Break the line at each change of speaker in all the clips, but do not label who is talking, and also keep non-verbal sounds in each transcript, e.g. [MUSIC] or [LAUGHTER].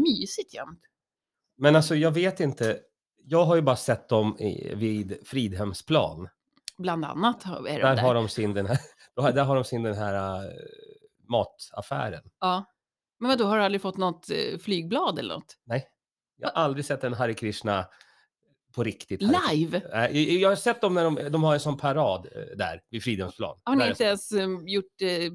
mysigt jämt.
Men alltså jag vet inte. Jag har ju bara sett dem i, vid Fridhemsplan.
Bland annat har- är de
Där,
där.
har de sin den här, [LAUGHS] då har- där har de sin den här eh, mataffären.
Ja. Men vadå, har du aldrig fått något eh, flygblad eller något?
Jag har
Ah.
aldrig sett en Hare Krishna på riktigt. Hare Krishna.
Live?
Nej, Jag jag har sett dem när de, de har en sån parad eh, där vid Fridhemsplan.
Har
Där
ni
är-
inte ens eh, gjort eh,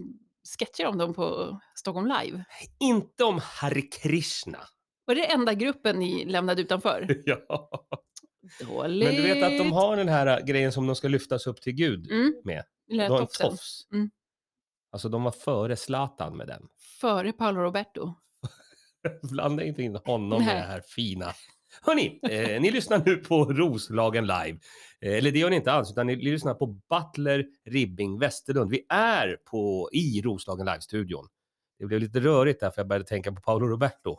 sketcher om dem på Stockholm Live?
Inte om Hare Krishna.
[LAUGHS] Var det enda gruppen ni lämnade utanför?
ja.
Dåligt.
[LAUGHS] Men du vet att de har den här eh, grejen som de ska lyftas upp till Gud.
mm.
med.
Den
De
där
har en
tofsen.
tofs.
Mm.
Alltså de var före Zlatan med den.
Före Paolo Roberto.
[LAUGHS] Blanda inte in honom
Nej.
med det här fina. Hörni, eh, ni lyssnar nu på Roslagen live. Eh, eller det gör ni inte alls, utan ni lyssnar på Butler Ribbing Westerlund. Vi är på, i Roslagen live-studion. Det blev lite rörigt där, för jag började tänka på Paolo Roberto. I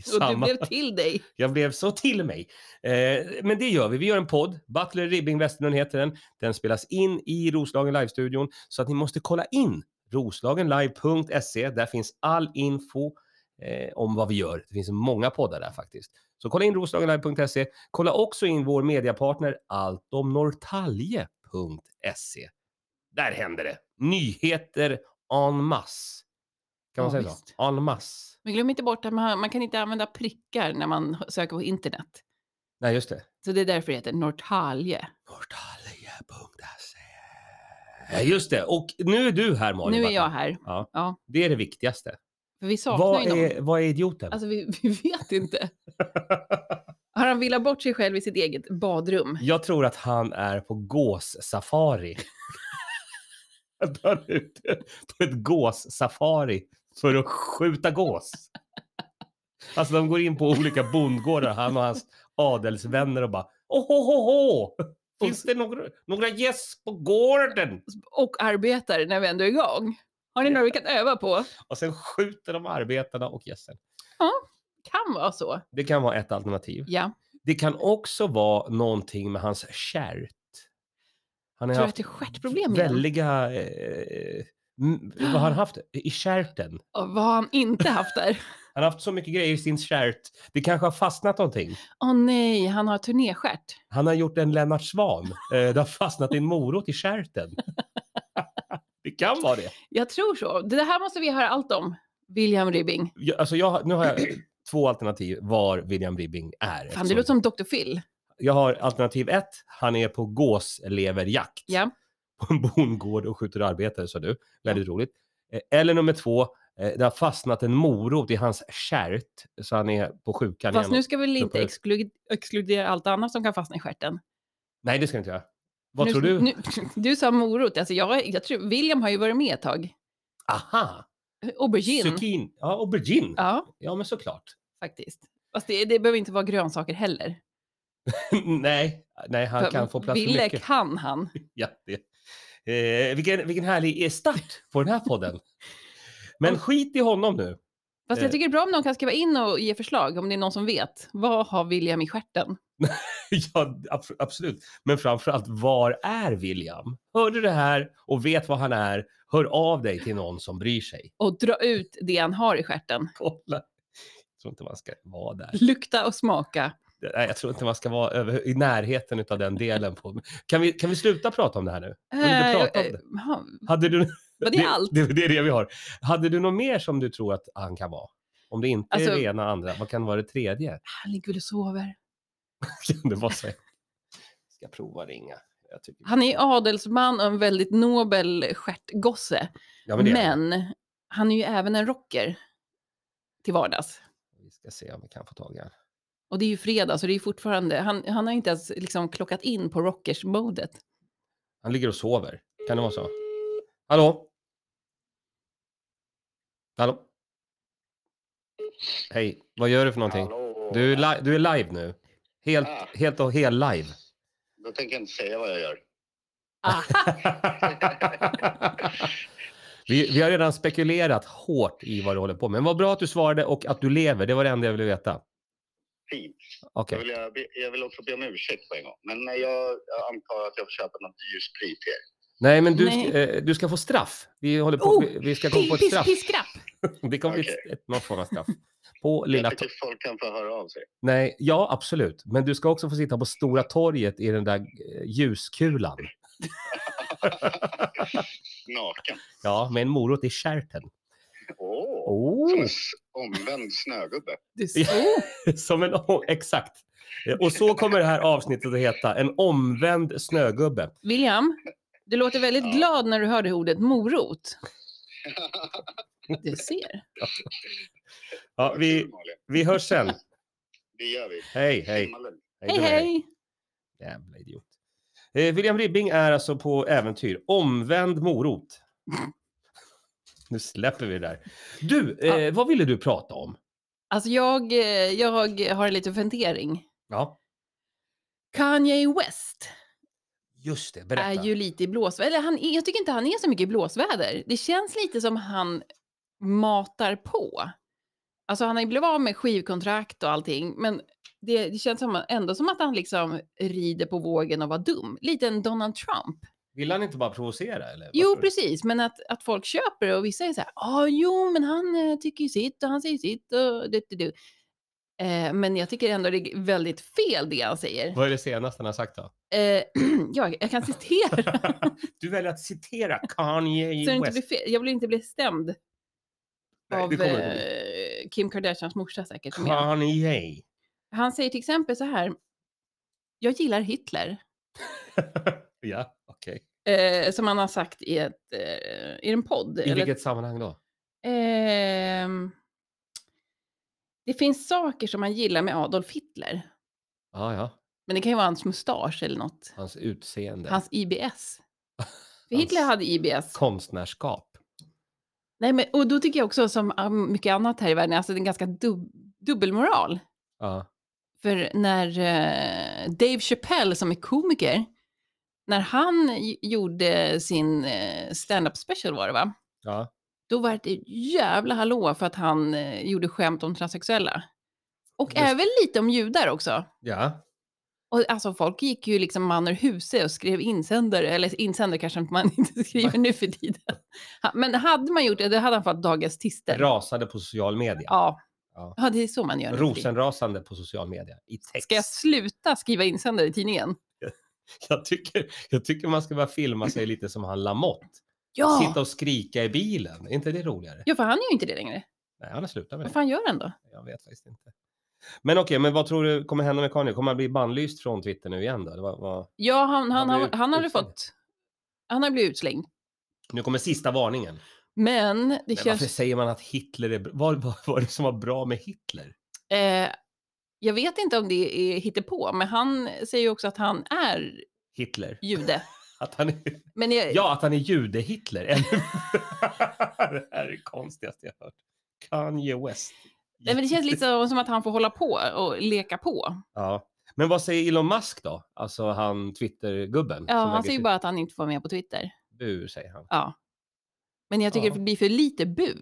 Och du
samma-
blev till dig.
Jag blev så till mig. Eh, men det gör vi. Vi gör en podd. Butler Ribbing Westerlund heter den. Den spelas in i Roslagen Live-studion. Så att ni måste kolla in roslagenlive.se. Där finns all info eh, om vad vi gör. Det finns många poddar där faktiskt. Så kolla in roslagenlive.se. Kolla också in vår mediapartner alltomnorrtalje.se. Där händer det. Nyheter en masse. Kan man
Ja,
säga
visst.
så? En masse.
Men glöm inte bort att man, man kan inte använda prickar när man söker på internet.
Nej, just det.
Så det är därför det heter Norrtalje.
Norrtalje.se. Just det, och nu är du här Malin.
Nu är
Backen.
jag här.
Ja.
Ja.
Det är det viktigaste.
För vi saknar
Vad
ju någon.
är, vad är idioten?
Alltså vi, [LAUGHS] vi vet
[LAUGHS]
inte. Har han villat bort sig själv i sitt eget badrum?
Jag tror att han är på
[LAUGHS]
gåssafari. Att han är ute på ett gåssafari för att skjuta gås. Alltså de går in på olika bondgårdar, han och hans adelsvänner och bara ohohoho! Finns det några, några gäss på gården?
Och arbetar när vi ändå är igång. Har ni något vi kan öva på?
Och sen skjuter de arbetarna och gässen.
Kan vara så.
Det kan vara ett alternativ.
Ja.
Det kan också vara någonting med hans kärt. Han har
Tror du att
haft
det är stjärtproblem igen?
väldiga... Eh, m- vad har han haft? I kärten.
Och vad har han inte haft
[LAUGHS]
där?
Han har haft så mycket grejer i sin kärt. Det kanske har fastnat någonting.
Åh nej, han har turnéstjärt.
Han har gjort en Lennart Svan. Eh, det har fastnat en morot i kärten. Det kan vara det.
Jag tror så. Det här måste vi höra allt om. William Ribbing.
Jag, alltså jag, nu har jag två alternativ var William Ribbing är.
Fan, det låter som Dr. Phil.
Jag har alternativ ett. Han är på gåsleverjakt.
Ja.
[LAUGHS] på en bondgård och skjuter arbetare, sa du. Väldigt roligt. Eh, Eller nummer två, eh, det har fastnat en morot i hans kärt så han är på sjukan
Fast nu
igen.
ska vi väl inte
Tuppar.
exklu- exkludera allt annat som kan fastna i stjärten.
Nej, det ska jag inte göra. Vad
nu,
tror du?
Nu, [LAUGHS] du sa morot. Alltså jag, jag tror, William har ju varit med ett tag.
Aha!
Aubergine.
Zucchini. Ja, aubergine. Ja.
Ja,
men såklart. [LAUGHS]
faktiskt. Fast det, det behöver inte vara grönsaker heller.
nej, nej, han
För
kan få plats för
Ville
mycket.
kan han.
Ja, det. Eh, vilken, vilken härlig start på den här
[LAUGHS]
podden. Men skit i honom nu.
Fast
Eh.
jag tycker det är bra om någon kan skriva in och ge förslag om det är någon som vet. Vad har William i stjärten?
[LAUGHS] Ja, abs- absolut. Men framförallt, var är William? Hör du det här och vet vad han är, hör av dig till någon som bryr sig. [LAUGHS]
Och dra ut det han har i stjärten.
Kolla. Jag tror inte man ska vara där.
Lukta och smaka.
Nej, jag tror inte man ska vara över, i närheten av den delen. På. Kan, vi, kan vi sluta prata om det här nu? Vill du inte
Eh,
prata om
eh,
det?
jaha,
Hade du,
Var det allt?
Det, det är det vi har. Hade du något mer som du tror att han kan vara? Om det inte
Alltså-
är det ena andra, vad kan vara det tredje? [LAUGHS]
Han ligger väl och sover.
Kan det
[LAUGHS]
vara så? Ska prova ringa. Jag tycker...
Han är ju adelsman och en väldigt nobel stjärtgosse.
ja, det är han.
men han är ju även en rocker till vardags.
Vi ska se om vi kan få tag i honom.
Och det är ju fredag, så det är ju fortfarande... Han, han har inte ens liksom klockat in på rockers-modet.
Han ligger och sover. Kan det vara så? Hallå? Hallå? Hej, vad gör du för någonting?
Hallå.
Du är, li- du är live nu. Helt,
Ah.
helt och hel live.
Då tänker jag inte säga vad jag gör.
Ah.
Aha,
vi, vi har redan spekulerat hårt i vad du håller på med. Men vad bra att du svarade och att du lever. Det var det enda jag ville veta.
Fint.
Okej.
Jag, vill, jag, be- jag vill också be om ursäkt på en gång. Men jag, jag antar att jag får köpa någon dyr sprit till er.
Nej, men du,
Nej.
ska- eh, du ska få straff. Vi, håller på,
Oh,
vi, vi ska komma
Piss,
på ett
piss,
straff.
piskrapp.
Det kommer bli ett, ett, någon form av straff. På lilla
Jag
to-
tycker folk kan få höra av sig.
Nej, ja absolut. Men du ska också få sitta på Stora torget i den där eh, ljuskulan.
Naken.
Ja, med en morot i stjärten.
Åh! Som en
Oh.
s- omvänd snögubbe.
Du,
Ja. [LAUGHS] Som en, oh, exakt. Eh, Och så kommer det här avsnittet att heta. En omvänd snögubbe.
William, du låter väldigt
Ja.
glad när du hör det ordet morot. Du ser.
Ja, vi, vi hörs sen.
Det gör vi.
Hej, hej.
Himmelen.
Hej,
då,
hej.
Jävla idiot. Eh, William Ribbing är alltså på äventyr. Omvänd morot. [LAUGHS] Nu släpper vi det där. Du, eh, vad ville du prata om?
Alltså jag, eh, jag har lite fundering.
Ja,
Kanye West
just det. Berätta.
är ju lite i blåsväder. Eller han, är- jag tycker inte han är så mycket i blåsväder. Det känns lite som han matar på. Alltså han har ju blivit av med skivkontrakt och allting, men det, det känns som, ändå som att han liksom rider på vågen och var dum. Lite en Donald Trump.
Vill han inte bara provocera? Eller?
Jo,
Varför?
precis, men att, att folk köper det och vissa är så här, ah, jo, men han eh, tycker ju sitt och han säger sitt och du, du, du. Eh, men jag tycker ändå det är väldigt fel det han säger.
Vad är det senaste han har sagt då?
Eh, [CLEARS THROAT] ja, jag kan
[LAUGHS]
citera.
du väljer att citera Kanye
så det inte
West.
blir fel. Jag vill inte bli stämd
Nej,
av
det kommer inte
eh, Kim Kardashians morsa säkert. som jag-
Kanye.
Han säger till exempel så här, jag gillar Hitler.
ja, okej.
Eh, som han har sagt i, ett, eh, i en podd.
I
eller
vilket sammanhang då?
Ehm, det finns saker som man gillar med Adolf Hitler.
Ja, ja.
Men det kan ju vara hans mustasch eller något.
Hans utseende.
Hans IBS. För
Hans-
Hitler hade IBS.
Konstnärskap.
Nej, men, och då tycker jag också som ah, mycket annat här i världen, alltså det är en ganska dub- dubbelmoral.
Ja.
För när eh, Dave Chappelle som är komiker, när han j- gjorde sin eh, stand-up special var det va?
ja.
då var det ett jävla hallå för att han eh, gjorde skämt om transsexuella. Och
Just det.
även lite om judar också.
Ja.
Och alltså folk gick ju liksom man ur huse och skrev insändare, eller insändare kanske man [LAUGHS] inte skriver nu för tiden. Ha- Men hade man gjort det, då hade han fått dagens tister.
Rasade på social media.
Ja.
Ja.
ja, det är så man gör. nu för tiden.
Rosenrasande på social media. I text.
Ska jag sluta skriva insändare i tidningen?
jag, tycker, jag tycker man ska bara filma sig lite som han Lamotte.
Ja,
Sitta och skrika i bilen. Är inte det roligare?
ja för han är ju inte det längre.
Nej, han har slutat med
Vad
det.
fan gör han då?
Jag vet faktiskt inte. Men okej, men vad tror du kommer hända med Kanye? Kommer han bli bannlyst från Twitter nu igen då? Eller vad, vad...
Ja, han, han,
Han
han,
blev
han hade
utslängd.
fått... Han har blivit utslängd.
Nu kommer sista varningen.
Men det
Men
känns...
varför säger man att Hitler är bra? Vad vad var det som var bra med Hitler?
Eh, jag vet inte om det är hittepå, men han säger ju också att han är
Hitler?
jude.
Att han är,
Men jag,
ja, att han är jude-Hitler. Ännu- [LAUGHS] det här är det konstigaste jag hört. Kanye West.
nej, men det känns lite så- som att han får hålla på och leka på.
Ja. Men vad säger Elon Musk då? Alltså han Twitter-gubben.
Ja,
som lägger
han säger ju
sitt
bara att han inte får vara med på Twitter.
Bu, säger han.
Ja. Men jag tycker
Ja.
det blir för lite bu.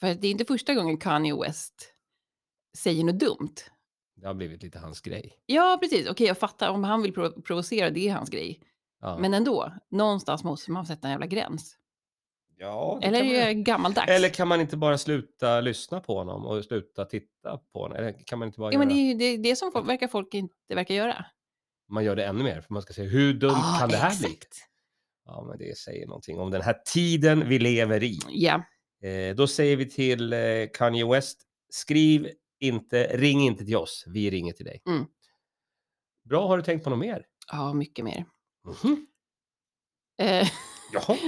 För att det är inte första gången Kanye West säger något dumt.
Det har blivit lite hans grej.
Ja, precis. Okej, jag fattar. Om han vill prov- provocera, det är hans grej.
Ja.
Men ändå, någonstans måste man sätta en jävla gräns.
ja, det
Eller
kan man
är
göra.
det gammaldags?
Eller kan man inte bara sluta lyssna på honom och sluta titta på honom? Eller kan man inte bara
Ja, men det
göra...
är ju det, det som folk, verkar folk inte verkar göra.
Man gör det ännu mer, för man ska se hur dumt
Ja,
kan det här bli?
exakt.
Ja, men det säger någonting om den här tiden vi lever i.
Ja,
Eh, då säger vi till eh, Kanye West, skriv inte, ring inte till oss, vi ringer till dig.
Mm.
Bra, har du tänkt på något mer?
ja mycket mer.
Mhm.
Eh, [LAUGHS]
Jaha.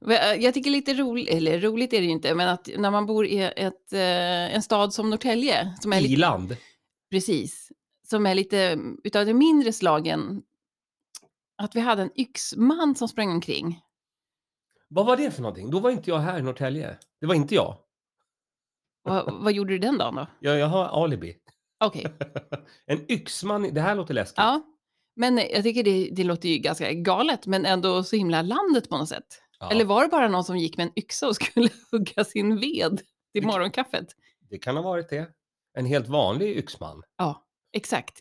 va- jag tycker lite roligt, eller roligt är det ju inte, men att när man bor i ett, eh, en stad som Norrtälje, som är lite,
Iland.
precis, som är lite mm, utav det mindre slagen, att vi hade en yxman som sprang omkring.
Vad var det för någonting? Då var inte jag här i Norrtälje. Det var inte jag.
Va, vad gjorde du den dagen då?
Jag, jag har alibi. [LAUGHS]
Okej,
en yxman, i- det här låter läskigt.
ja. Men eh, jag tycker det, det låter ju ganska galet, men ändå så himla landet på något sätt.
Ja,
Eller var det bara någon som gick med en yxa och [LAUGHS] skulle hugga sin ved till
Vilket-
morgonkaffet?
Det kan ha varit det. En helt vanlig yxman.
Exakt.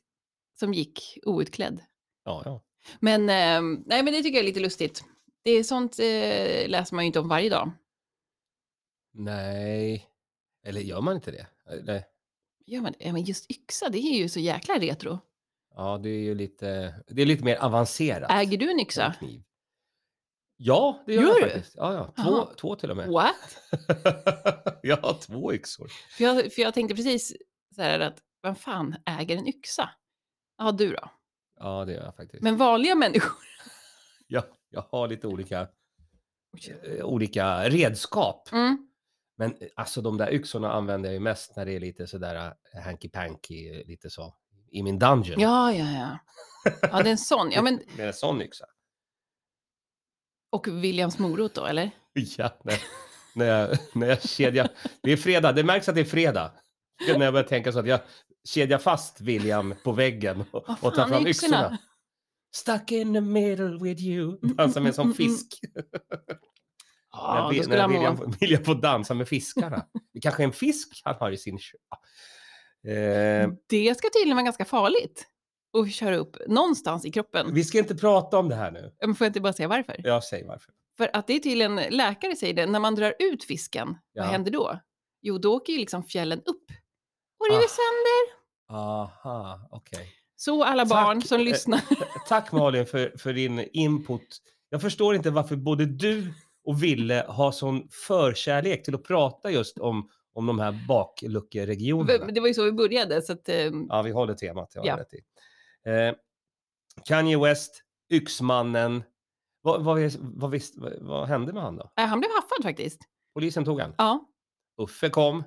Som gick outklädd.
Ja, ja.
Men, eh, nej, men det tycker jag är lite lustigt. Det är sånt eh, läser man ju inte om varje dag.
Nej. Eller gör man inte det? Eller,
Gör man det? Ja, men just yxa, det är ju så jäkla retro.
ja, det är ju lite, det är lite mer avancerat.
Äger du en
än
yxa?
kniv. Ja, det gör,
Gör
jag
du?
faktiskt. Ja, ja. Två,
Jaha.
två till och med.
What?
[LAUGHS] jag har två yxor.
För jag, för jag tänkte precis så här att, vem fan äger en yxa? Ja, du då.
Ja, det gör jag faktiskt.
Men vanliga människor.
Jag, jag har lite olika, eh, olika redskap.
Mm.
Men eh, alltså de där yxorna använder jag ju mest när det är lite sådär eh, hanky-panky, eh, lite så. I min dungeon.
Ja, ja, ja. Ja, det är en sån.
[LAUGHS]
Ja, men,
Med en sån yxa.
och Williams morot då, eller?
[LAUGHS] Ja, när, när, jag, när jag kedjar. Det är fredag, det märks att det är fredag. Ja, När jag börjar tänka så att jag kedjar fast William på väggen och,
Vad
och tar
fan är
fram
yxorna?
yxorna. Stuck in the middle with you. Dansa med en sån
mm, mm.
fisk.
Ja,
när
då
vi-
skulle
när
han må.
William, William får dansa med fiskarna. Det kanske är en fisk han har i sin... kö- Ja. Eh,
Det ska tydligen vara ganska farligt att köra upp någonstans i kroppen.
vi ska inte prata om det här nu.
Men Får jag inte bara säga varför?
Jag säger varför.
För att det är tydligen, läkare säger det, när man drar ut fisken,
Ja.
vad händer då? Jo, då åker ju liksom fjällen upp och river
Ah.
sönder.
Aha, okej.
Så alla
Tack.
barn som
Eh,
lyssnar.
Tack Malin för, för din input. Jag förstår inte varför både du och Ville har sån förkärlek till att prata just om, om de här bakluckeregionerna.
[LAUGHS] Det var ju så vi började, så att, eh,
oh, Ja, vi håller temat. Jag har
Ja.
rätt i. Eh, Kanye West, Yxmannen. Vad, vad, vis- vad, visst- vad, vad hände med han då?
eh, han blev haffad faktiskt.
Polisen tog han.
Ja,
Uffe kom.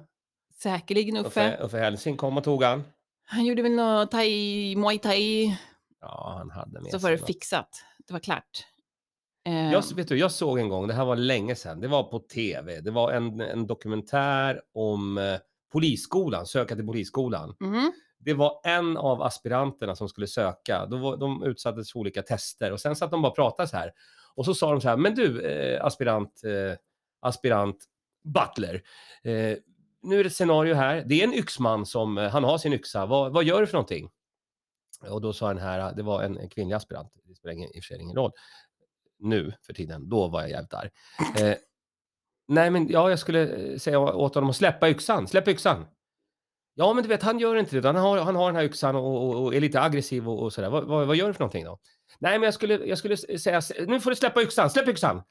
säkerligen Uffe.
Uffe, Uffe Helsing kom och tog han.
Han gjorde väl något thai, muay thai,
Ja, han hade med
så
sig
var det
något.
fixat. Det var klart. Eh,
Jag, vet du, jag såg en gång, det här var länge sedan, det var på tv. Det var en, en dokumentär om eh, polisskolan, söka till polisskolan.
mhm.
Det var en av aspiranterna som skulle söka. Då var, de utsattes för olika tester och sen satt de bara och pratade så här. Och så sa de så här, men du eh, aspirant, eh, aspirant Butler, eh, nu är det ett scenario här. Det är en yxman som, eh, han har sin yxa, vad, vad gör du för någonting? Och då sa den här, det var en, en kvinnlig aspirant, det spelar ingen, i och för sig ingen roll nu för tiden, då var jag jävligt arg. Eh, nej, men ja, jag skulle eh, säga åt honom att släppa yxan, släpp yxan. Ja, men du vet, han gör inte det. utan Han har, han har den här yxan och, och, och är lite aggressiv och, och sådär. Vad, vad, vad gör du för någonting då? Nej, men jag skulle, jag skulle s- säga, s- nu får du släppa yxan, släpp yxan.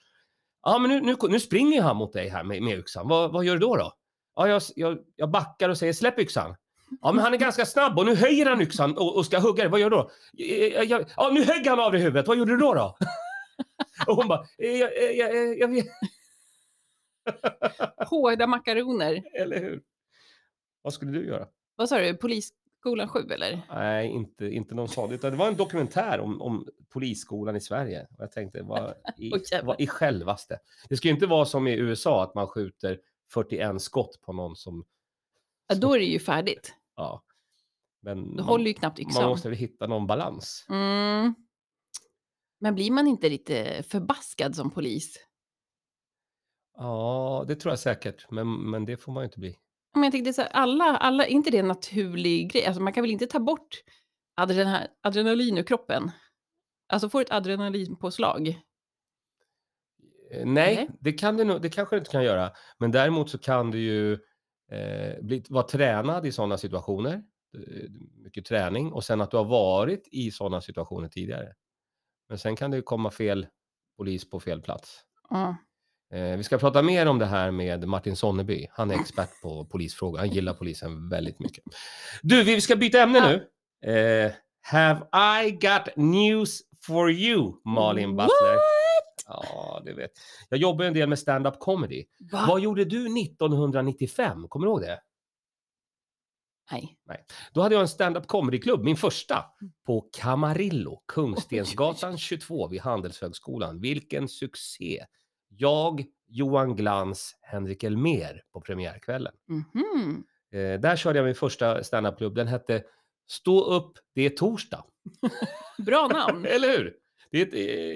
Ja, men nu, nu, nu springer ju han mot dig här med, med yxan. Vad, vad gör du då? då? Ja, jag, jag, jag backar och säger släpp yxan. Ja, men han är ganska snabb och nu höjer han yxan och, och ska hugga dig. Vad gör du då? Jag, jag, jag, ja, nu högg han av dig i huvudet. Vad gjorde du då? då? [LAUGHS] Och hon bara, "Eh, jag, eh, jag, eh, jag vet,
Hårda makaroner.
eller hur? Vad skulle du göra?
Vad sa du, Polisskolan 7 eller?
Nej, inte, inte någon sa det. Utan det var en dokumentär om, om polisskolan i Sverige. Och jag tänkte,
[LAUGHS]
vad i,
Åh, jävlar.
vad i självaste? Det ska ju inte vara som i USA, att man skjuter 41 skott på någon som...
Ja, då är det ju färdigt.
Ja. Men
Då
man,
håller ju knappt yxan.
man måste väl hitta någon balans.
Mm. Men blir man inte lite förbaskad som polis?
Ja, det tror jag säkert. Men, men det får man ju inte bli.
Men jag tänkte så här, alla, alla, är inte det en naturlig grej? Alltså man kan väl inte ta bort adrena, adrenalin ur kroppen? Alltså får du ett adrenalinpåslag?
Eh, Nej,
Nej.
Det, kan du, nog- det kanske du inte kan göra. Men däremot så kan du ju eh, bli, vara tränad i sådana situationer. Eh, Mycket träning och sen att du har varit i sådana situationer tidigare. Men sen kan det ju komma fel polis på fel plats.
Ja.
Eh, vi ska prata mer om det här med Martin Sonneby. Han är expert på polisfrågor. Han gillar polisen väldigt mycket. Du, vi ska byta ämne
Ja.
nu. Eh, have I got news for you, Malin Butler?
What?
Ja, det vet. Jag jobbar ju en del med stand-up comedy.
Va?
Vad gjorde du 1995? Kommer du ihåg det?
Nej.
Då hade jag en stand-up comedy-klubb, min första, på Camarillo, Kungstensgatan 22 vid Handelshögskolan. Vilken succé! Jag, Johan Glans, Henrik Elmer på premiärkvällen.
Mhm.
Eh, där körde jag min första stand-up-klubb. Den hette Stå upp, det är torsdag.
Bra namn. Mm.
Eller hur? Det, är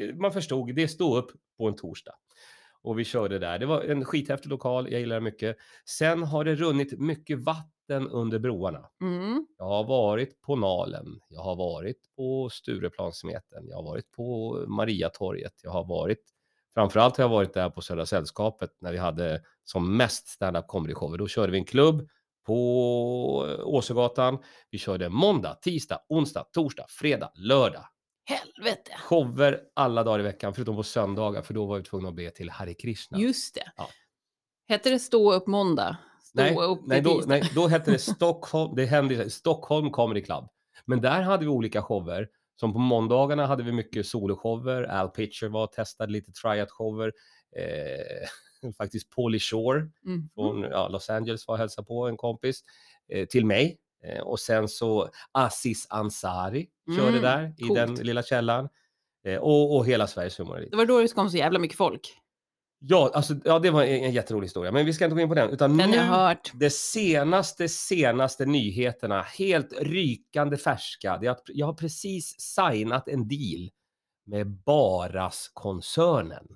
ett, eh, man förstod, det är stå upp på en torsdag. Och vi körde där. Det var en skithäftig lokal, jag gillar det mycket. Sen har det runnit mycket vatten under broarna.
Mm.
Jag har varit på Nalen, jag har varit på Stureplansmeten, jag har varit på Mariatorget, jag har varit, framförallt har jag varit där på Södra Sällskapet när vi hade som mest stand-up comedy-shower. Då körde vi en klubb på eh, Åsögatan. Vi körde måndag, tisdag, onsdag, torsdag, fredag, lördag.
Helvete!
Shower alla dagar i veckan, förutom på söndagar, för då var vi tvungna att be till Hare Krishna.
Just det.
Ja.
Hette det stå upp måndag? Stå
Nej,
upp
nej,
i
då,
tisdag?
nej, då hette det Stockholm, det hände, i så här, Stockholm Comedy Club. Men där hade vi olika shower. Som på måndagarna hade vi mycket soloshower, Al Pitcher var och testade lite tryoutshower. Eh, [LAUGHS] faktiskt Pauly Shore
Mm.
från ja, Los Angeles var och hälsade på en kompis eh, till mig. Eh, och sen så Aziz Ansari körde
Mm,
där i den
coolt.
lilla källaren. Eh, och, och hela Sveriges humor.
Det var då det kom så jävla mycket folk.
Ja, alltså, ja, det var en, en jätterolig historia, men vi ska inte gå in på den. Utan
Den
nu,
jag hört.
de senaste, senaste nyheterna, helt rykande färska, det är att jag har precis signat en deal med Baras-koncernen.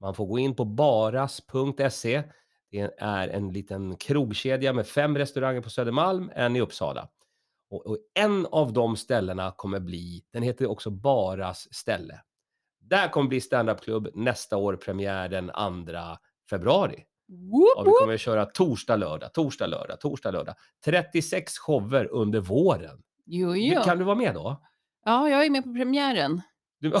Man får gå in på baras.se. Det är en liten krogkedja med fem restauranger på Södermalm, en i Uppsala. Och, och en av de ställena kommer bli, den heter också Baras ställe. Där kommer bli standupklubb nästa år, premiär den 2 februari. Ja,
Woop,
vi
woop.
kommer att köra torsdag, lördag, torsdag, lördag, torsdag, lördag. 36 shower under våren.
Jo,
Du-
jo.
Kan du vara med då?
Ja, jag är med på premiären.
Du...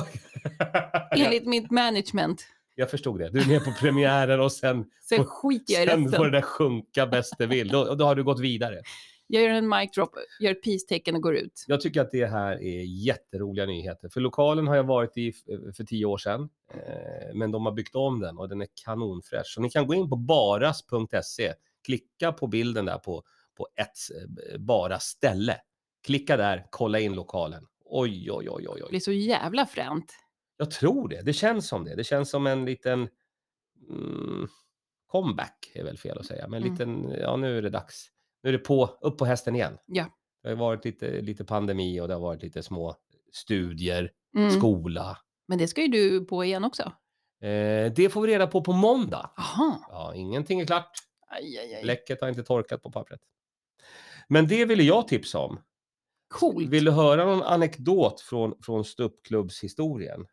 [LAUGHS]
Enligt mitt management.
Jag förstod det. Du är med på premiären och sen,
Sen
Och
skiter jag i
sen får det
resten.
där sjunka bäst det vill. Då, då har du gått vidare.
Jag gör en mic drop, gör ett peace-tecken och går ut.
Jag tycker att det här är jätteroliga nyheter. För lokalen har jag varit i f- för tio år sedan. Eh, Men de har byggt om den och den är kanonfräsch. Så ni kan gå in på baras.se. Klicka på bilden där på, på ett eh, bara ställe. Klicka där, kolla in lokalen. Oj, oj, oj, oj,
Det blir
oj.
så jävla fränt.
Jag tror det. Det känns som det. Det känns som en liten mm, comeback, är väl fel att säga. Men
Mm.
liten, ja nu är det dags. Nu är det på, upp på hästen igen.
Ja.
Det har ju varit lite, lite pandemi och det har varit lite små studier,
Mm.
skola.
Men det ska ju du på igen också.
Eh, det får vi reda på på måndag.
Aha.
Ja, ingenting är klart.
Aj, aj, aj.
Bläcket har inte torkat på pappret. Men det ville jag tipsa om.
Coolt.
Vill du höra någon anekdot från, från ståuppklubbshistorien?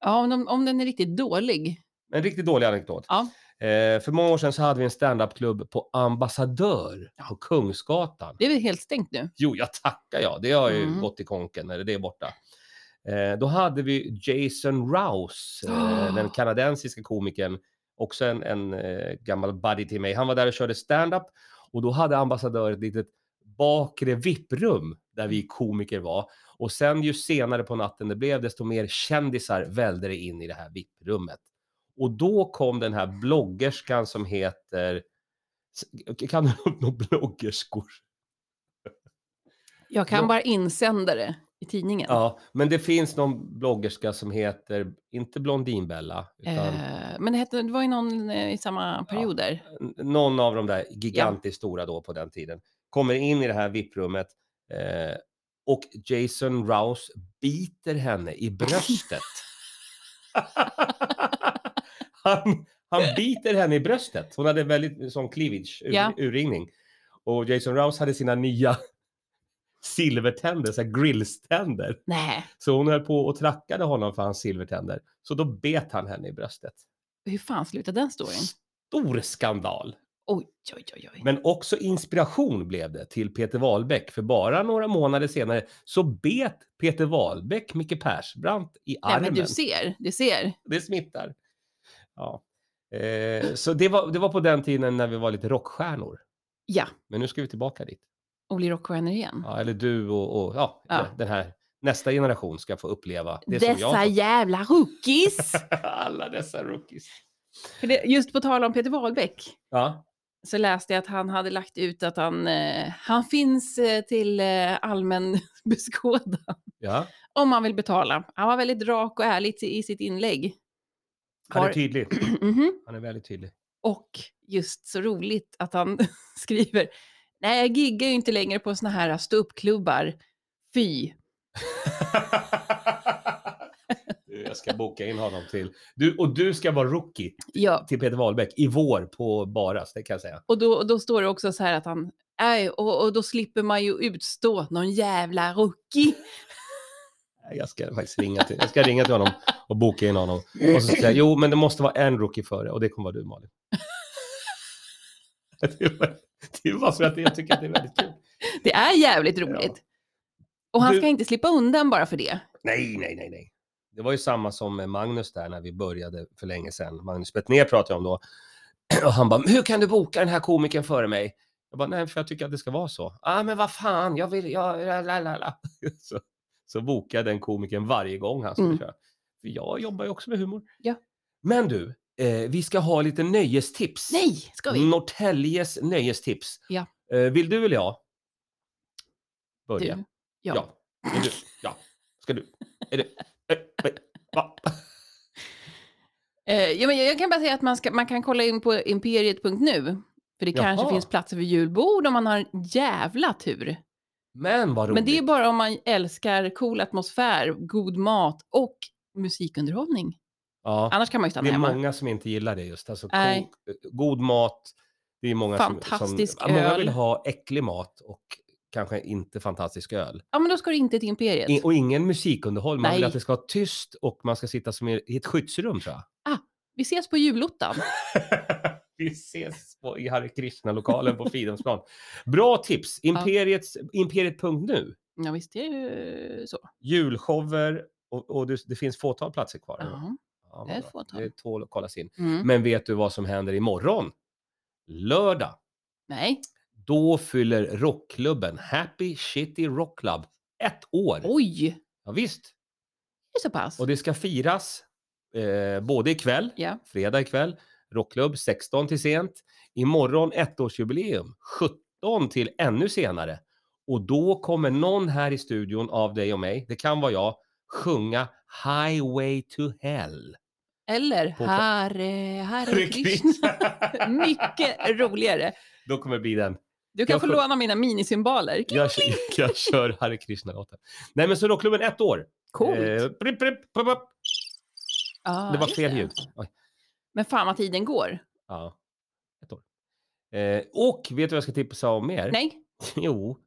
Ja, om, de, om den är riktigt dålig.
En riktigt dålig anekdot.
Ja.
Eh, för många år sedan så hade vi en standupklubb på Ambassadör på Kungsgatan.
Det är väl helt stängt nu?
Jo, jag tackar jag. Det har ju
Mm.
gått i konken, eller det är borta. Eh, då hade vi Jason Rouse, eh, den
Ah.
kanadensiska komikern, också en, en eh, gammal buddy till mig. Han var där och körde stand-up och då hade ambassadör ett litet bakre vipprum där vi komiker var. Och sen ju senare på natten det blev, desto mer kändisar välde det in i det här vipprummet. Och då kom den här bloggerskan som heter... Kan du [LAUGHS] uppnå bloggerskor?
Jag kan
Ja.
bara insändare i tidningen.
Ja, men det finns någon bloggerska som heter, inte Blondinbella, utan
Eh, men det, hette, det var ju någon eh, i samma period där.
n- någon av de där gigantiskt stora då på den tiden, kommer in i det här VIP-rummet eh, och Jason Rouse biter henne
[LAUGHS]
i bröstet. han, han biter henne i bröstet. Hon hade väldigt sån cleavage, ur,
Ja.
urringning. Och Jason Rouse hade sina nya [LAUGHS] silvertänder, så här grillständer.
Nej,
Så hon höll på och trackade honom för hans silvertänder. Så då bet han henne i bröstet.
hur fan slutade den storyn?
Stor skandal.
Oj, oj, oj, oj.
Men också inspiration blev det till Peter Wahlbeck. För bara några månader senare så bet Peter Wahlbeck Micke Persbrandt i
Nej,
armen.
men du ser, du ser.
Det smittar. Ja. Eh, så det var, det var på den tiden när vi var lite rockstjärnor.
Ja,
Men nu ska vi tillbaka dit.
och blir rockstjärnor igen.
Ja, eller du och, och ja,
Ja.
den här nästa generation ska få uppleva det som jag...
Dessa
har fått.
jävla
[LAUGHS]
rookies!
Alla dessa rookies.
För det, just på tal om Peter Wahlbeck
Ja.
så läste jag att han hade lagt ut att han, eh, han finns eh, till eh, allmän [LAUGHS] beskådan
Ja,
om man vill betala. Han var väldigt rak och ärlig i i sitt inlägg. [CLEARS THROAT]
han är
Har-
tydlig.
Mhm.
Han är väldigt tydlig.
Och just så roligt att han [LAUGHS] skriver, nej jag giggar ju inte längre på såna här ståuppklubbar, fy.
Du Jag ska boka in honom till... Du, och du ska vara rookie
Ja,
till Peter Wahlbeck i vår på Baras, det kan jag säga.
och då, och då står det också så här att han... Nej, och, och då slipper man ju utstå någon jävla rookie. [LAUGHS]
Jag ska faktiskt ringa till, jag ska ringa till honom och boka in honom. Och så säga, jo men det måste vara en rookie före och det kommer vara du Malin. [LAUGHS] Det var, det var för att jag tycker att det är väldigt kul.
Det är jävligt roligt. Och han
Du-
ska inte slippa undan bara för det.
Nej, nej, nej, nej. Det var ju samma som med Magnus där när vi började för länge sedan. Magnus Bettner pratade jag om då. [CLEARS THROAT] Och han bara, "Men hur kan du boka den här komikern före mig? Jag bara, nej, för jag tycker att det ska vara så. ah, men vad fan, jag vill, jag, la, la, la, [LAUGHS] la. Så, så bokade den komikern varje gång han skulle
Mm.
köra. För jag jobbar ju också med humor.
Ja.
Men du, eh, vi ska ha lite nöjestips.
Nej, ska vi?
Mm. Norrtäljes nöjestips.
Ja.
Eh, vill du eller jag? Börja.
Du. Ja.
Ja. Är du? Ja. Ska du? Är du? Eh, nej. Va?
Eh, ja, men jag jag kan bara säga att man, ska, man kan kolla in på imperiet.nu. För det kanske
Jaha.
finns platser för julbord om man har en jävla tur.
Men vad roligt.
Men det är bara om man älskar cool atmosfär, god mat och musikunderhållning.
ja.
Annars kan man ju stanna
det är
hemma.
många som inte gillar det just. Alltså,
Nej.
ko- god mat. Det är många
Fantastisk
som, som Många
öl.
vill ha äcklig mat och kanske inte fantastisk öl.
Ja, men då ska du inte till imperiet.
I, och ingen musikunderhåll. Man vill
Nej.
att det ska vara tyst och man ska sitta som i i ett skyddsrum tror
[LAUGHS]
jag.
Vi ses på julottan.
Vi ses på, i Hare Krishna-lokalen på Fridhemsplan. Bra tips! Imperiets, Imperiet.nu.
Ja, visst det är ju så.
Julshower och, och det, det finns fåtal platser kvar. eller?
Ja.
Ja,
Det är
men bra.
fåtal.
Det tål att kollas in.
Mm.
Men vet du vad som händer imorgon? Lördag.
Nej,
Då fyller rockklubben Happy Shitty Rock Club ett år.
oj,
Ja, visst.
det är så pass.
Och det ska firas eh, både ikväll,
Ja.
fredag ikväll, rockklubb 16 till sent. Imorgon ettårsjubileum 17 till ännu senare. Och då kommer någon här i studion av dig och mig, det kan vara jag, sjunga Highway to Hell.
Eller
På-
Hare, Hare Krishna.
Krishna.
Mycket roligare.
[LAUGHS] Då kommer det bli den.
Du kan
Jag
få
sjö-
låna mina minisymboler.
Jag, [LAUGHS] jag kör Hare Krishna-låten. Nej men så rockklubben ett år.
Coolt.
Eh, prip, prip, pop, pop.
Ja,
det var
just
fel ljud. Oj.
Men fan vad tiden går.
Ja. Ett år. Eh, och vet du vad jag ska tipsa om mer?
Nej.
[LAUGHS] Jo.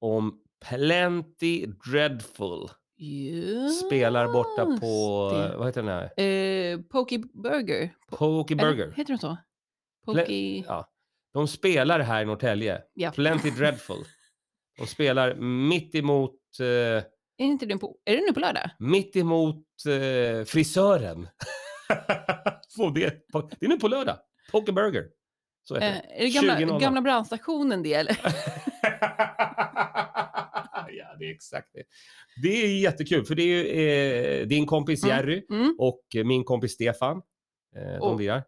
Om Plenty Dreadful.
Just
Spelar borta på,
Ah, det.
eh, vad heter den här?
Eh, Pokey Burger.
Pokey
Eller,
Burger.
Heter de så? Pokey...
Ja. De spelar här i Norrtälje.
Ja. [LAUGHS]
Plenty Dreadful. De spelar mitt emot, eh,
Är, inte den på... är det nu på lördag?
mitt emot eh, [LAUGHS] frisören. Får det, på, det är nu på lördag. Poker Burger. Så heter
Eh,
det.
är det gamla,
20.00.
gamla brandstationen det eller?
[LAUGHS] ja, det är exakt det. Det är jättekul, för det är ju eh, din kompis
Mm.
Jerry
Mm.
och eh, min kompis Stefan. Eh, de
Och-
lirar.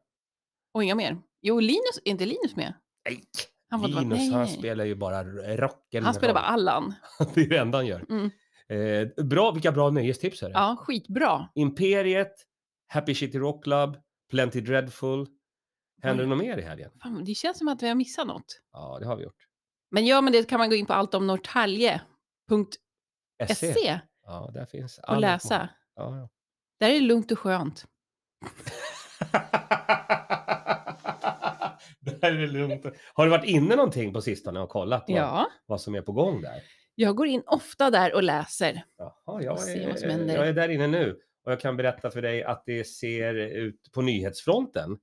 Och inga mer? Jo, Linus, är inte Linus med?
Nej,
Han får inte vara-
Linus,
nej,
han
nej.
spelar ju bara rocken.
Han spelar bara
roll.
Allan.
[LAUGHS] det är det enda han gör.
Mm.
Eh, bra, vilka bra nöjestips är det.
Ja, skitbra.
Imperiet, Happy City Rock Club, Plenty Dreadful. Händer det något mer i helgen?
Fan, det känns som att vi har missat något.
Ja, det har vi gjort.
Men ja, men det kan man gå in på alltomnorrtalje.se
SC. E. Ja, där finns
E och läsa.
Ja, ja.
Där är det lugnt och skönt.
där är [LAUGHS] det lugnt. Har du varit inne någonting på sistone och kollat vad,
Ja,
vad som är på gång där?
jag går in ofta där och läser.
Jaha, jag
Får se vad som
är,
händer.
jag är där inne nu och jag kan berätta för dig att det ser ut på nyhetsfronten.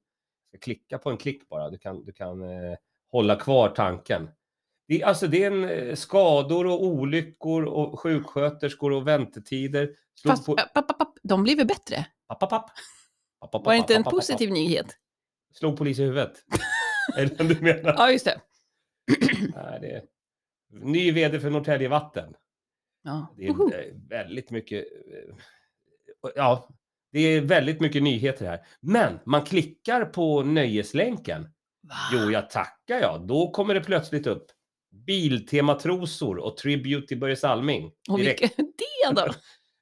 Jag klicka på en klick bara, du kan, du kan eh, hålla kvar tanken. Det, är- alltså det är en, eh, skador och olyckor och sjuksköterskor och väntetider. Slog
Fast äh,
på-
app, app, app, de blev väl bättre?
App, app, app. App, app, app,
Var det
app,
inte en
app, app, app.
positiv nyhet?
Slog polis i huvudet. [LAUGHS] är det den du menar?
Ja, just det.
Nej, det är... Ny vd för Norrtälje Vatten.
Ja.
Det är
Woho.
eh, väldigt mycket... eh, och- Ja, det är väldigt mycket nyheter här. Men man klickar på nöjeslänken.
Va?
Jo, jag tackar ja. Då kommer det plötsligt upp Biltema-trosor och Tribute till Börje Salming.
och
Direkt.
vilket [LAUGHS] det då?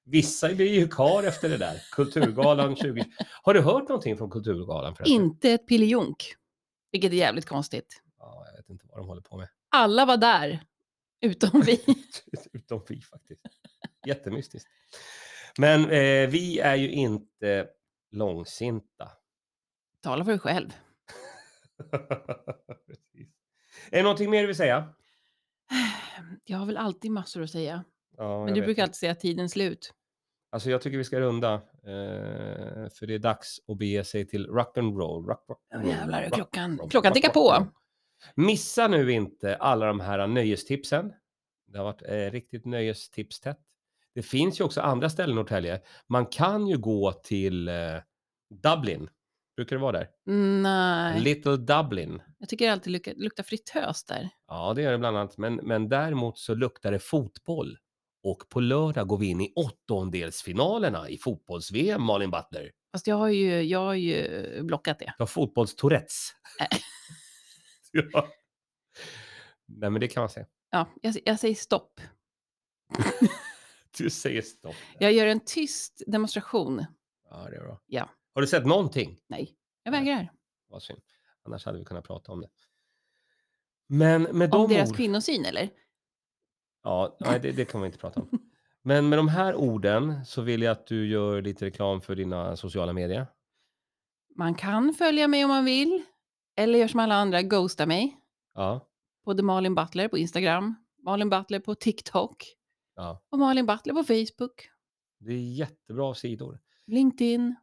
Vissa blir ju kvar efter det där.
[LAUGHS]
Kulturgalan 20... Har du hört någonting från Kulturgalan? förresten?
inte ett pillejunk. Vilket är jävligt konstigt.
Ja, jag vet inte vad de håller på med.
Alla var där, utom vi.
[LAUGHS] Utom vi faktiskt. Jättemystiskt. Men eh, vi är ju inte långsinta.
[LAUGHS] Tala för dig själv.
Precis. Är det någonting mer du vill säga?
Jag har väl alltid massor att säga.
Ja, jag
Men du
vet
brukar
inte.
alltid säga tidens slut.
Alltså jag tycker vi ska runda. Eh, för det är dags att bege sig till rock'n'roll. Rock, rock,
Åh, jävlar,
rock,
klockan,
rock,
klockan
rock,
tickar
rock,
på.
rock. Missa nu inte alla de här nöjestipsen. Det har varit eh, riktigt nöjestipstätt. Det finns ju också andra ställen i Norrtälje. Man kan ju gå till eh, Dublin. Brukar det vara där?
Nej,
Little Dublin.
jag tycker det alltid luktar, luktar fritös där.
Ja, det gör det bland annat. Men, men däremot så luktar det fotboll. Och på lördag går vi in i åttondelsfinalerna i fotbolls-VM, Malin Butler.
Fast jag har ju, jag har ju blockat det.
Du har fotbollstourettes.
Äh.
[LAUGHS] ja. Nej, men det kan man säga.
Ja, jag, jag säger stopp.
Du säger stopp.
Jag gör en tyst demonstration.
Ja, det är bra.
Ja.
Har du sett någonting?
Nej, jag
Nej.
vägrar.
Vad synd. Annars hade vi kunnat prata om det. Men med
Om
de
deras
orden-
kvinnosyn eller?
Ja, nej, det, det kan vi inte prata om. Men med de här orden så vill jag att du gör lite reklam för dina sociala medier.
Man kan följa mig om man vill. Eller gör som alla andra, ghosta mig.
Ja,
På The Malin Butler på Instagram. Malin Butler på TikTok.
ja.
Och Malin Butler på Facebook.
Det är jättebra sidor.
LinkedIn.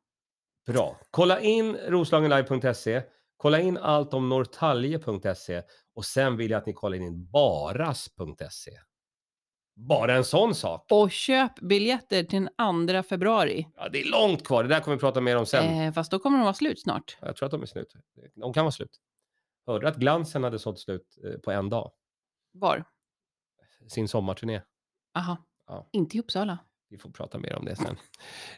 Bra. Kolla in roslagenlive.se. Kolla in allt om norrtalje.se och sen vill jag att ni kollar in baras.se. Bara en sån sak.
Och köp biljetter till den 2 februari.
Ja, det är långt kvar. Det där kommer vi prata mer om sen.
Eh, fast då kommer de vara slut snart.
Jag tror att de är slut. De kan vara slut. Hörde att Glansen hade sålt slut eh, på en dag.
Var?
Sin sommarturné.
Aha.
Ja.
Inte i Uppsala.
Vi får prata mer om det sen.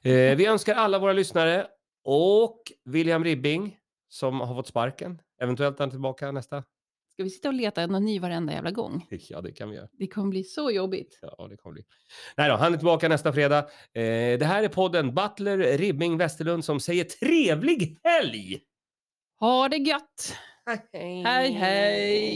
Eh, vi önskar alla våra lyssnare och William Ribbing som har fått sparken. Eventuellt är han tillbaka nästa. [LAUGHS]
Ska vi sitta och leta någon ny varenda jävla gång?
Ja, det kan vi göra.
Det kommer bli så jobbigt.
Ja, det kommer bli. Nej då, han är tillbaka nästa fredag. Eh, det här är podden Butler Ribbing Westerlund som säger trevlig helg!
Ha det gött! Hej, hej!